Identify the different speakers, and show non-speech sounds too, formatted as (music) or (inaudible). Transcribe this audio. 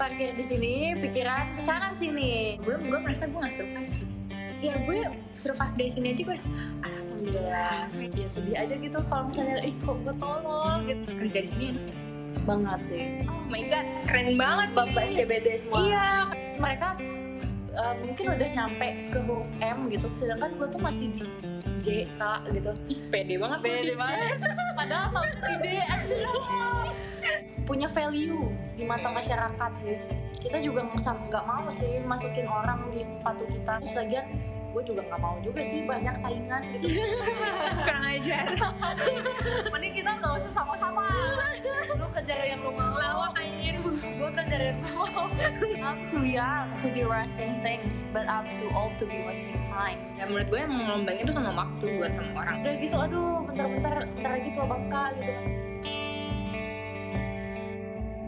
Speaker 1: parkir di sini pikiran kesana sini gue gue merasa gue nggak survive sih ya gue survive dari sini aja gue udah, alhamdulillah ya sedih aja gitu kalau misalnya ih kok gue tolol gitu kerja di sini enak sih.
Speaker 2: banget sih
Speaker 3: Oh my god, keren banget
Speaker 2: bapak CBD semua
Speaker 3: Iya.
Speaker 2: mereka uh, mungkin udah nyampe ke huruf M gitu sedangkan gue tuh masih di J K gitu
Speaker 3: Ih, pede banget.
Speaker 2: Beda banget Iya. padahal tau ide punya value di mata masyarakat sih kita juga mau- sama nggak mau sih masukin orang di sepatu kita terus lagian gue juga nggak mau juga sih banyak saingan gitu
Speaker 3: Kurang ajar.
Speaker 2: (laughs) mending kita nggak usah sama-sama lu kejar yang lu mau
Speaker 3: Lawak anjir.
Speaker 2: gue kejar yang gue mau I'm too young to be rushing things but I'm too old to be wasting time
Speaker 3: Ya menurut gue yang mau ngelombangin itu sama waktu bukan sama orang.
Speaker 2: udah gitu aduh bentar-bentar bentar lagi tua bangka gitu